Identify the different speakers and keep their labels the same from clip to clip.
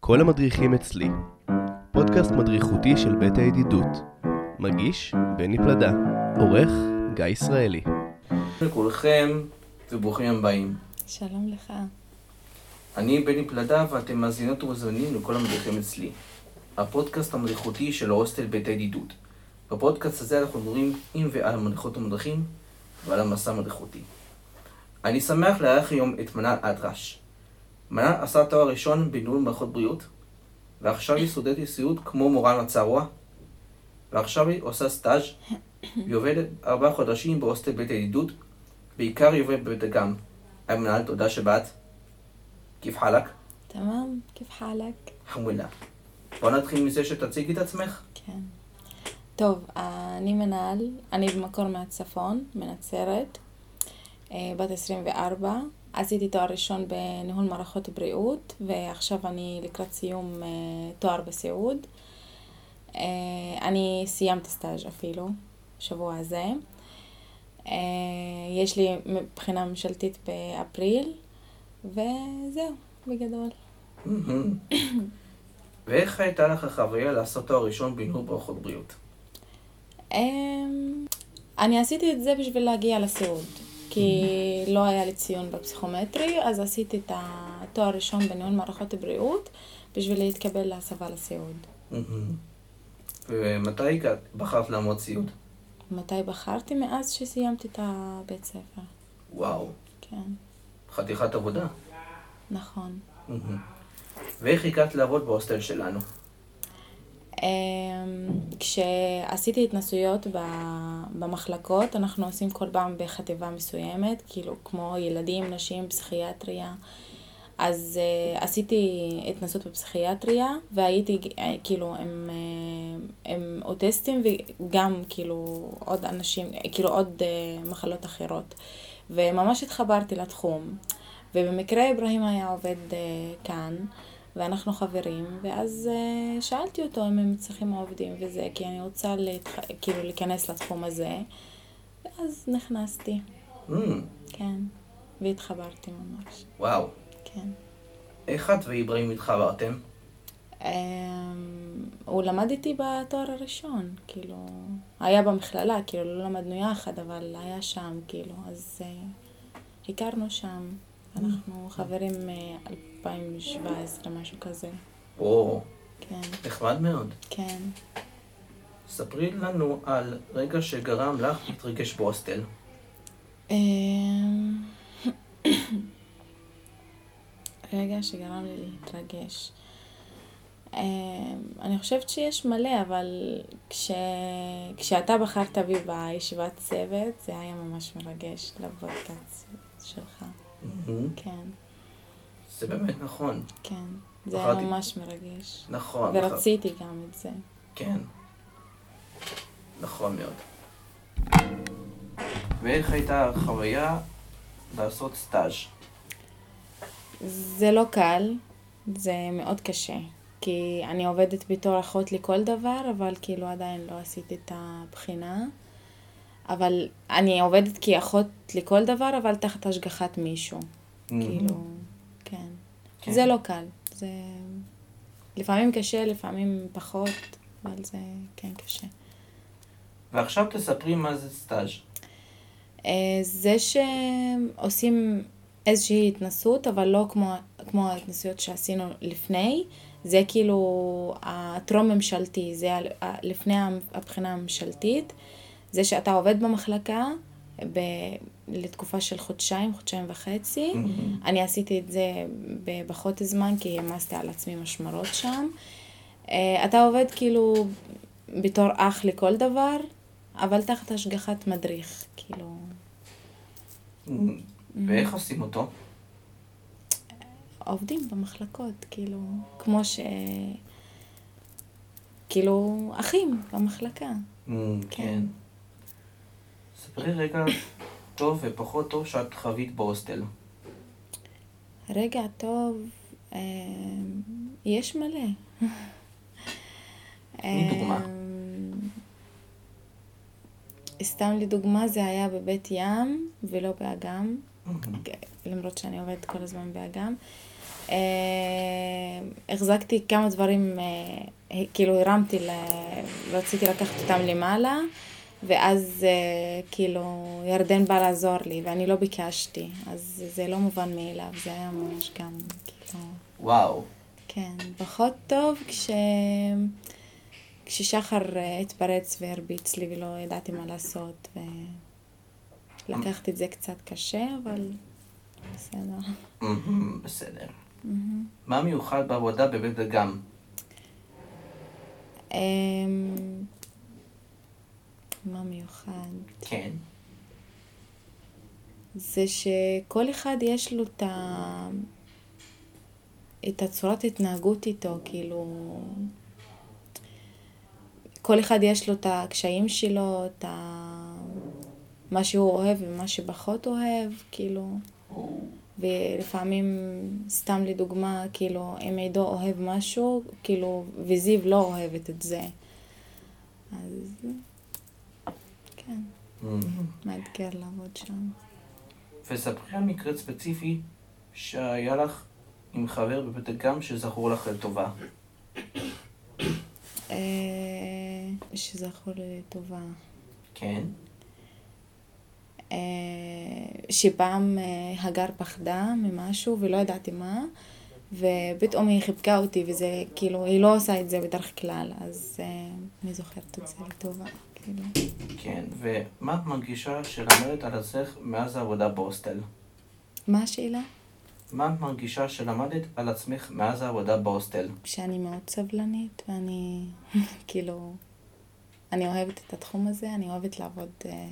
Speaker 1: כל המדריכים אצלי, פודקאסט מדריכותי של בית הידידות. מגיש בני פלדה, עורך גיא ישראלי.
Speaker 2: לכולכם וברוכים הבאים.
Speaker 3: שלום לך.
Speaker 2: אני בני פלדה ואתם מאזינות ומאזינים לכל המדריכים אצלי. הפודקאסט המדריכותי של הוסטל בית הידידות. בפודקאסט הזה אנחנו מדברים עם ועל מדריכות ומדריכים ועל המסע המדריכותי. אני שמח לארח היום את מנן אדרש. מנן עשה תואר ראשון בניהול מערכות בריאות, ועכשיו היא סטודנטית לסיעוד כמו מורן מצרוע, ועכשיו היא עושה סטאז' והיא עובדת ארבעה חודשים בהוסטל בית הידידות, בעיקר היא עובדת בבית אגם. היי מנהל, תודה שבאת. כיף חלק,
Speaker 3: תמם, כיף חלק?
Speaker 2: חמולה. בוא נתחיל מזה שתציגי את עצמך.
Speaker 3: כן. טוב, אני מנל, אני במקור מהצפון, מנצרת, אה, בת 24. עשיתי תואר ראשון בניהול מערכות בריאות, ועכשיו אני לקראת סיום אה, תואר בסיעוד. אה, אני סיימתי סטאז' אפילו, שבוע הזה. אה, יש לי מבחינה ממשלתית באפריל, וזהו, בגדול.
Speaker 2: מהמם. ואיך הייתה לך החוויה לעשות תואר ראשון בניהול ברכות בריאות?
Speaker 3: אמ, אני עשיתי את זה בשביל להגיע לסיעוד, כי לא היה לי ציון בפסיכומטרי, אז עשיתי את התואר הראשון בניהול מערכות בריאות בשביל להתקבל להסבה לסיעוד.
Speaker 2: מהמם. ומתי הגעת, בחרת לעמוד סיעוד?
Speaker 3: מתי בחרתי? מאז שסיימתי את הבית ספר.
Speaker 2: וואו,
Speaker 3: כן,
Speaker 2: חתיכת עבודה.
Speaker 3: נכון.
Speaker 2: מהמם. ואיך הגעת לעבוד בהוסטל שלנו?
Speaker 3: אמ, כשעשיתי התנסויות ב- במחלקות, אנחנו עושים כל פעם בחטיבה מסוימת, כאילו כמו ילדים, נשים, פסיכיאטריה. אז uh, עשיתי התנסות בפסיכיאטריה, והייתי אה, כאילו עם, uh, עם אוטיסטים וגם כאילו עוד אנשים, אה, כאילו עוד uh, מחלות אחרות. וממש התחברתי לתחום. ובמקרה אברהים היה עובד uh, כאן, ואנחנו חברים, ואז uh, שאלתי אותו אם הם צריכים עובדים וזה, כי אני רוצה להתח... כאילו להיכנס לתחום הזה, ואז נכנסתי,
Speaker 2: מהמם.
Speaker 3: כן, והתחברתי ממש,
Speaker 2: וואו,
Speaker 3: כן.
Speaker 2: איך את ואיברהים התחברתם?
Speaker 3: אמ, הוא למד איתי בתואר הראשון, כאילו, היה במכללה, כאילו, לא למדנו יחד, אבל היה שם, כאילו, אז uh, הכרנו שם. אנחנו חברים אה, מ-2017, משהו כזה.
Speaker 2: או,
Speaker 3: כן,
Speaker 2: נחמד מאוד.
Speaker 3: כן.
Speaker 2: ספרי לנו על רגע שגרם לך להתרגש בהוסטל.
Speaker 3: אמ, רגע שגרם לי להתרגש. אמ, אני חושבת שיש מלא, אבל כש... כשאתה בחרת בי בישיבת צוות, זה היה ממש מרגש לפודקאסט שלך.
Speaker 2: מהמם.
Speaker 3: כן,
Speaker 2: זה באמת נכון.
Speaker 3: כן. זה היה
Speaker 2: בחרתי.
Speaker 3: ממש מרגש.
Speaker 2: נכון. נכון.
Speaker 3: ורציתי גם את זה.
Speaker 2: כן. נכון מאוד. ואיך הייתה החוויה לעשות סטאז'?
Speaker 3: זה לא קל, זה מאוד קשה. כי אני עובדת בתור אחות לכל דבר, אבל כאילו עדיין לא עשיתי את הבחינה. אבל אני עובדת כאחות לכל דבר, אבל תחת השגחת מישהו. כאילו, כן.
Speaker 2: Mm-hmm. כן.
Speaker 3: זה לא קל. זה לפעמים קשה, לפעמים פחות, אבל זה כן קשה.
Speaker 2: ועכשיו תספרי מה זה סטאז'.
Speaker 3: אה, זה שעושים איזושהי התנסות, אבל לא כמו, כמו ההתנסויות שעשינו לפני, זה כאילו הטרום ממשלתי, זה ה- ה- לפני המ- הבחינה הממשלתית, זה שאתה עובד במחלקה ב, לתקופה של חודשיים, חודשיים וחצי.
Speaker 2: Mm-hmm.
Speaker 3: אני עשיתי את זה ב- פחות זמן, כי העמסתי על עצמי משמרות שם. אה, אתה עובד כאילו בתור אח לכל דבר, אבל תחת השגחת מדריך, כאילו. Mm-hmm.
Speaker 2: ואיך עושים אותו?
Speaker 3: עובדים במחלקות, כאילו, כמו ש... כאילו, אחים במחלקה.
Speaker 2: כן. ספרי רגע טוב ופחות טוב שאת חווית בהוסטל.
Speaker 3: Mm-hmm. רגע טוב, אה, יש מלא.
Speaker 2: תני דוגמה.
Speaker 3: אה, סתם לדוגמה, זה היה בבית
Speaker 2: Mm-hmm.
Speaker 3: כן, ים ולא באגם, למרות שאני עובדת כל הזמן באגם. אה, החזקתי כמה דברים, אה, כאילו הרמתי, ל... לא רציתי לקחת אותם למעלה, ואז אה, כאילו ירדן בא לעזור לי, ואני לא ביקשתי, אז זה לא מובן מאליו, זה היה ממש גם, כאילו,
Speaker 2: וואו.
Speaker 3: כן, פחות טוב כש... כששחר אה, התפרץ והרביץ לי ולא ידעתי מה לעשות, ולקחתי את זה קצת קשה, אבל בסדר.
Speaker 2: מהמם, Mm-hmm, בסדר.
Speaker 3: Mm-hmm.
Speaker 2: מה מיוחד בעבודה בבית דגם?
Speaker 3: אמ, מה מיוחד?
Speaker 2: כן.
Speaker 3: זה שכל אחד יש לו את, ה... את הצורת התנהגות איתו, כאילו... כל אחד יש לו את הקשיים שלו, את ה... מה שהוא אוהב ומה שפחות אוהב, כאילו... ולפעמים, סתם לדוגמה, כאילו, אם עידו אוהב משהו, כאילו, וזיו לא אוהבת את זה. אז כן,
Speaker 2: מהמם.
Speaker 3: מאתגר לעבוד שם.
Speaker 2: וספרי על מקרה ספציפי שהיה לך עם חבר בבית דגם שזכור לך לטובה.
Speaker 3: אה, שזכור לי לטובה.
Speaker 2: כן.
Speaker 3: אה, שפעם אה, הגר פחדה ממשהו ולא ידעתי מה, ופתאום היא חיבקה אותי, וזה כאילו, היא לא עושה את זה בדרך כלל, אז אה, אני זוכרת את זה לטובה, כאילו.
Speaker 2: כן. ומה את מרגישה שלמדת על עצמך מאז העבודה בהוסטל?
Speaker 3: מה השאלה?
Speaker 2: מה את מרגישה שלמדת על עצמך מאז העבודה בהוסטל?
Speaker 3: שאני מאוד סבלנית, ואני כאילו, אני אוהבת את התחום הזה, אני אוהבת לעבוד אה,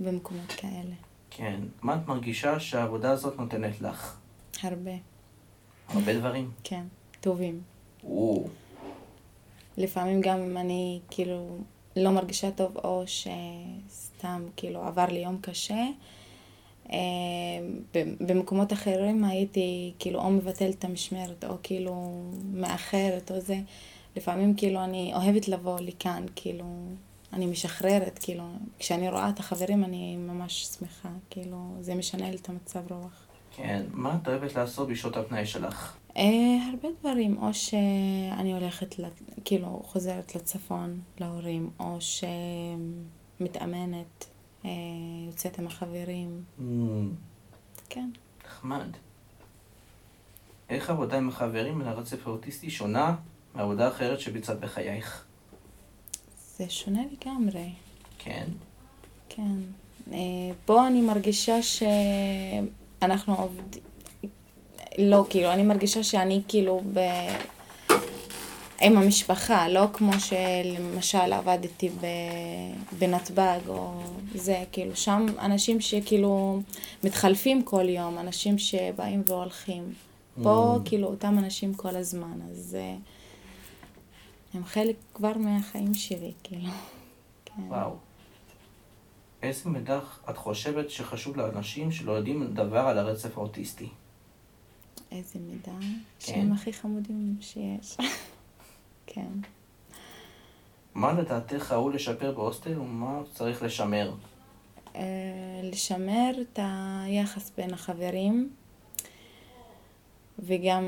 Speaker 3: במקומות כאלה.
Speaker 2: כן. מה את מרגישה שהעבודה הזאת נותנת לך?
Speaker 3: הרבה,
Speaker 2: הרבה דברים.
Speaker 3: כן, טובים.
Speaker 2: או,
Speaker 3: לפעמים גם אם אני כאילו לא מרגישה טוב, או שסתם כאילו עבר לי יום קשה, אה, ב- במקומות אחרים הייתי כאילו או מבטלת את המשמרת, או כאילו מאחרת, או זה. לפעמים כאילו אני אוהבת לבוא לכאן, כאילו, אני משחררת, כאילו, כשאני רואה את החברים אני ממש שמחה, כאילו, זה משנה לי את המצב רוח.
Speaker 2: כן. מה את אוהבת לעשות בשעות הפנאי שלך?
Speaker 3: אה, הרבה דברים, או שאני הולכת, לת- כאילו, חוזרת לצפון להורים, או שמתאמנת, אה, יוצאת עם החברים,
Speaker 2: אמ,
Speaker 3: כן.
Speaker 2: נחמד. איך עבודה עם החברים על הרצף האוטיסטי שונה מעבודה אחרת שביצעת בחייך?
Speaker 3: זה שונה לגמרי,
Speaker 2: כן.
Speaker 3: כן. אה, פה אני מרגישה שאנחנו עובד... לא, כאילו, אני מרגישה שאני כאילו ב... עם המשפחה, לא כמו שלמשל עבדתי ב... בנתב"ג או זה, כאילו, שם אנשים שכאילו מתחלפים כל יום, אנשים שבאים והולכים. פה
Speaker 2: Mm.
Speaker 3: כאילו אותם אנשים כל הזמן, אז אה, הם חלק כבר מהחיים שלי, כאילו. כן.
Speaker 2: וואו. איזה מידע את חושבת שחשוב לאנשים שלא יודעים דבר על הרצף האוטיסטי?
Speaker 3: איזה מידע,
Speaker 2: כן.
Speaker 3: שהם הכי חמודים שיש. כן.
Speaker 2: מה לדעתך ראוי לשפר בהוסטל ומה צריך לשמר?
Speaker 3: אה, לשמר את היחס בין החברים, וגם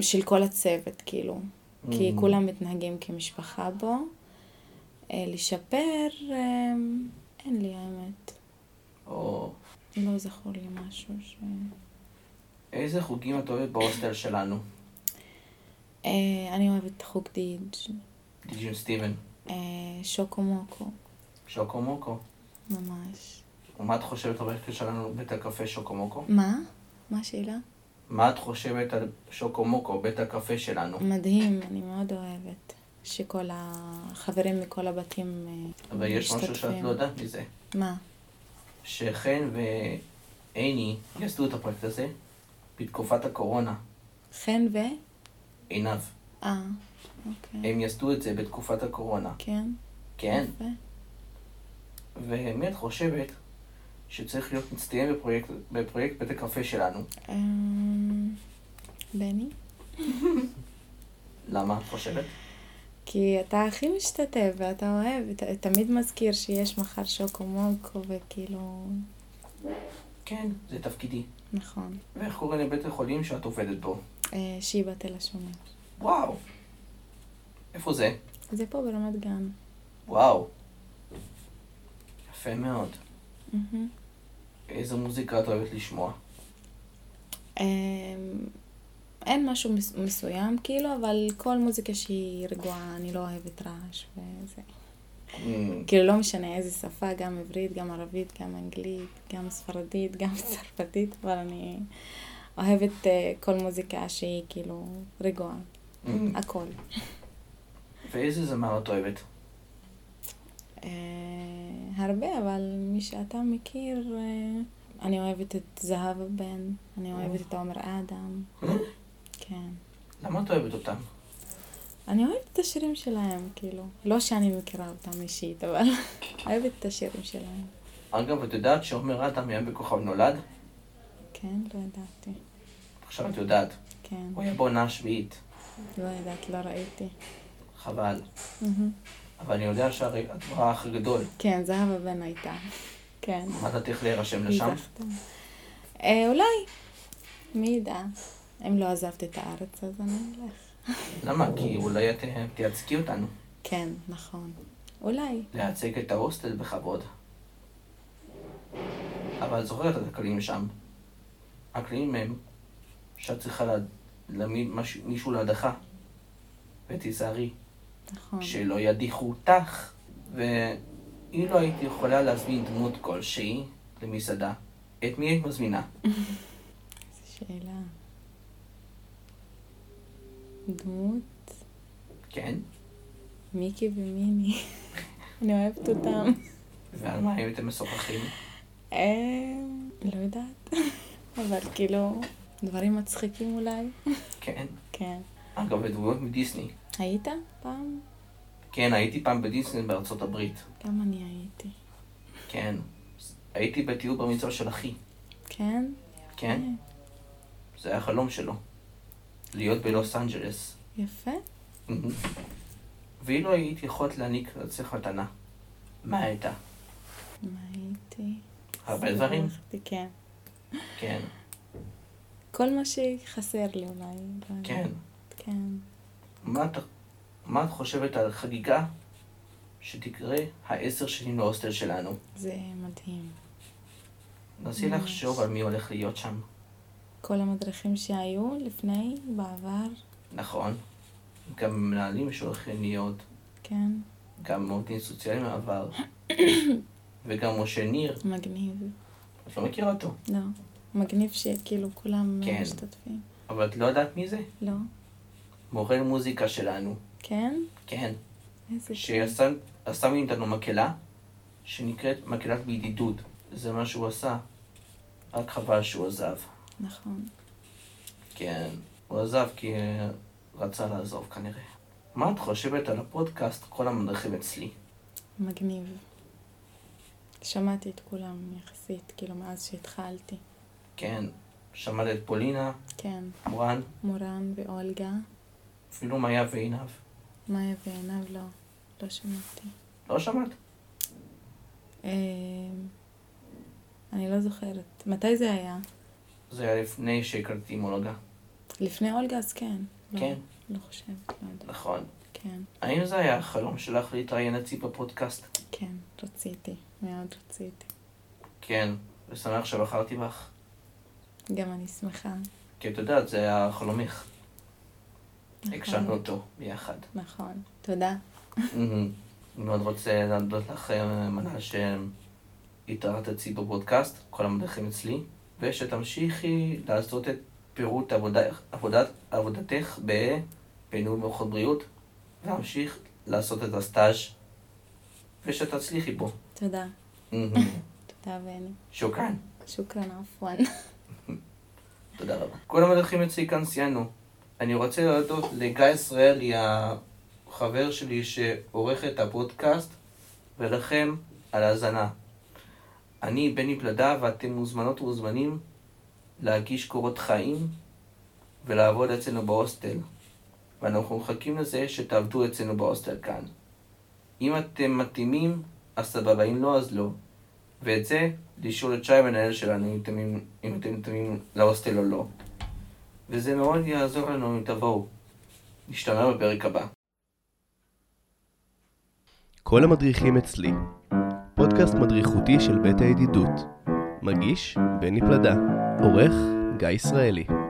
Speaker 3: של כל הצוות, כאילו. כי
Speaker 2: Mm.
Speaker 3: כולם מתנהגים כמשפחה בו. אה, לשפר, אה, אין לי האמת.
Speaker 2: או
Speaker 3: לא זכור לי משהו ש...
Speaker 2: איזה חוגים את אוהבת בהוסטל שלנו?
Speaker 3: אה, אני אוהבת חוג דיג',
Speaker 2: דיג'ין סטיבן,
Speaker 3: אה, שוקו מוקו,
Speaker 2: שוקומוקו.
Speaker 3: ממש.
Speaker 2: ומה את חושבת על הרצף שלנו בית הקפה שוקומוקו?
Speaker 3: מה? מה השאלה?
Speaker 2: מה את חושבת על שוקומוקו, בית הקפה שלנו?
Speaker 3: מדהים, אני מאוד אוהבת שכל החברים מכל הבתים אה,
Speaker 2: אבל יש משהו שאת
Speaker 3: משתתפים.
Speaker 2: לא יודעת מזה.
Speaker 3: מה?
Speaker 2: שחן ועיני יסדו את הפרויקט הזה בתקופת הקורונה,
Speaker 3: חן ו?
Speaker 2: עינב.
Speaker 3: אה, אוקיי.
Speaker 2: הם יסדו את זה בתקופת הקורונה.
Speaker 3: כן?
Speaker 2: אה, כן.
Speaker 3: יפה.
Speaker 2: ומי את חושבת שצריך להיות מצטיין בפרויקט, בפרויקט בית הקפה שלנו?
Speaker 3: אמ, בני?
Speaker 2: למה את חושבת?
Speaker 3: כי אתה הכי משתתף ואתה אוהב, ת- תמיד מזכיר שיש מחר שוקו מונקו וכאילו...
Speaker 2: כן, זה תפקידי.
Speaker 3: נכון.
Speaker 2: ואיך קוראים לבית החולים שאת עובדת בו?
Speaker 3: אה, שיבא תל השומר.
Speaker 2: וואו. איפה זה?
Speaker 3: זה פה ברמת גן.
Speaker 2: וואו. יפה מאוד.
Speaker 3: מהמם.
Speaker 2: איזה מוזיקה את אוהבת לשמוע?
Speaker 3: אה, אין משהו מס- מסוים כאילו, אבל כל מוזיקה שהיא רגועה, אני לא אוהבת רעש וזה.
Speaker 2: אמ,
Speaker 3: כאילו לא משנה איזה שפה, גם עברית, גם ערבית, גם אנגלית, גם ספרדית, גם צרפתית, אבל אני אוהבת אה, כל מוזיקה שהיא כאילו רגועה,
Speaker 2: אמ,
Speaker 3: הכל.
Speaker 2: ואיזה זמר את אוהבת?
Speaker 3: אה, הרבה, אבל מי שאתה מכיר, אה, אני אוהבת את זהבה בן, אני אוהבת את עומר אדם, כן.
Speaker 2: למה את אוהבת אותם?
Speaker 3: אני אוהבת את השירים שלהם, כאילו. לא שאני מכירה אותם אישית, אבל אוהבת את השירים שלהם.
Speaker 2: אגב, את יודעת שעומר אדם היה בכוכב נולד?
Speaker 3: כן, לא ידעתי.
Speaker 2: עכשיו את יודעת.
Speaker 3: כן,
Speaker 2: הוא היה בעונה השביעית.
Speaker 3: לא ידעתי, לא ראיתי.
Speaker 2: חבל.
Speaker 3: מהמם.
Speaker 2: אבל אני יודע שאת רואה אח גדול.
Speaker 3: כן, זהבה בן הייתה. כן.
Speaker 2: מה דעתך להירשם
Speaker 3: היא
Speaker 2: לשם?
Speaker 3: זכתה. אה, אולי. מי ידע? אם לא עזבת את הארץ, אז אני אלך.
Speaker 2: למה? כי אולי את אה, תייצגי אותנו.
Speaker 3: כן, נכון. אולי.
Speaker 2: לייצג את ההוסטל בכבוד. אבל זוכרת את הכללים שם. הכללים הם שאת צריכה לה- להעמיד מש- מישהו להדחה. ותיזהרי,
Speaker 3: נכון.
Speaker 2: שלא ידיחו אותך. ואילו היית יכולה להזמין דמות כלשהי למסעדה, את מי היית מזמינה?
Speaker 3: איזו שאלה. דמות?
Speaker 2: כן?
Speaker 3: מיקי ומיני. אני אוהבת אותם.
Speaker 2: ועל מה הייתם משוחחים?
Speaker 3: אה, לא יודעת. אבל כאילו, דברים מצחיקים אולי.
Speaker 2: כן.
Speaker 3: כן.
Speaker 2: אגב, דמויות מדיסני.
Speaker 3: היית פעם?
Speaker 2: כן, הייתי פעם בדיסני בארצות הברית.
Speaker 3: גם אני הייתי.
Speaker 2: כן. הייתי בטיול במצווה של אחי.
Speaker 3: כן? אה,
Speaker 2: כן? זה היה החלום שלו. להיות בלוס אנג'לס.
Speaker 3: יפה.
Speaker 2: ואילו היית יכולת להעניק לעצמך מתנה, מה הייתה?
Speaker 3: מה הייתי?
Speaker 2: הרבה דברים?
Speaker 3: שמחתי, כן.
Speaker 2: כן,
Speaker 3: כל מה שחסר לי אולי. לא יודעת.
Speaker 2: כן.
Speaker 3: כן.
Speaker 2: מה את, מה את חושבת על חגיגה שתקרה העשר שנים להוסטל שלנו?
Speaker 3: זה מדהים.
Speaker 2: נסי
Speaker 3: ממש.
Speaker 2: לחשוב על מי הולך להיות שם.
Speaker 3: כל המדריכים שהיו לפני, בעבר,
Speaker 2: נכון. גם מנהלים שהולכים להיות,
Speaker 3: כן.
Speaker 2: גם עובדים סוציאליים מהעבר, וגם משה ניר,
Speaker 3: מגניב.
Speaker 2: את לא מכירה אותו,
Speaker 3: לא. מגניב שכאילו כולם
Speaker 2: כן.
Speaker 3: משתתפים.
Speaker 2: אבל את לא יודעת מי זה?
Speaker 3: לא.
Speaker 2: מורה למוזיקה שלנו.
Speaker 3: כן? כן.
Speaker 2: כן.
Speaker 3: איזה
Speaker 2: שעשה עשה מאיתנו מקהלה שנקראת מקהלת בידידות. זה מה שהוא עשה, רק חבל שהוא עזב.
Speaker 3: כיף. נכון.
Speaker 2: כן, הוא עזב כי אה, רצה לעזוב כנראה. מה את חושבת על הפודקאסט כל המדריכים אצלי?
Speaker 3: מגניב. שמעתי את כולם יחסית, כאילו, מאז שהתחלתי.
Speaker 2: כן, שמעת את פולינה,
Speaker 3: כן.
Speaker 2: מורן,
Speaker 3: מורן ואולגה.
Speaker 2: אפילו מאיה ועינב.
Speaker 3: מאיה ועינב לא. לא שמעתי.
Speaker 2: לא שמעת?
Speaker 3: אה, אני לא זוכרת. מתי זה היה?
Speaker 2: זה היה לפני שהכרתי מולוגה.
Speaker 3: לפני אולגה אז כן. לא,
Speaker 2: כן,
Speaker 3: לא חושבת, לא יודעת.
Speaker 2: נכון.
Speaker 3: כן,
Speaker 2: האם זה היה החלום שלך להתראיין אצלי בפודקאסט?
Speaker 3: כן, רציתי. מאוד רציתי.
Speaker 2: כן, ושמח שבחרתי בך.
Speaker 3: גם אני שמחה.
Speaker 2: כי את יודעת, זה היה חלומך.
Speaker 3: נכון.
Speaker 2: הקשבנו אותו ביחד.
Speaker 3: נכון. תודה.
Speaker 2: אני מאוד רוצה להודות לך, אה, מנה, שהתארחת אצלי בפודקאסט, כל המדריכים אצלי, ושתמשיכי לעשות את פירוט עבודתך- עבודת- עבודתך ב- בניהול מערכות בריאות, ולהמשיך לעשות את הסטאז' ושתצליחי בו.
Speaker 3: תודה.
Speaker 2: מהמם.
Speaker 3: תודה בני.
Speaker 2: שוקרן.
Speaker 3: שוכרן עפואן.
Speaker 2: תודה רבה. כל המדריכים אצלי כאן סיימנו. אני רוצה להודות לגיא ישראלי, החבר שלי שעורך את הפודקאסט, ולכם על ההאזנה. אני בני פלדה ואתם מוזמנות ומוזמנים להגיש קורות חיים ולעבוד אצלנו בהוסטל. ואנחנו מחכים לזה שתעבדו אצלנו בהוסטל כאן. אם אתם מתאימים, אז סבבה, אם לא, אז לא. ואת זה לשאול את שי המנהל שלנו אם תמים- אם אתם מתאמים להוסטל או לא. וזה מאוד יעזור לנו אם תבואו. נשתמע בפרק הבא.
Speaker 1: כל המדריכים אצלי, פודקאסט מדריכותי של בית הידידות, מגיש בני פלדה, עורך גיא ישראלי.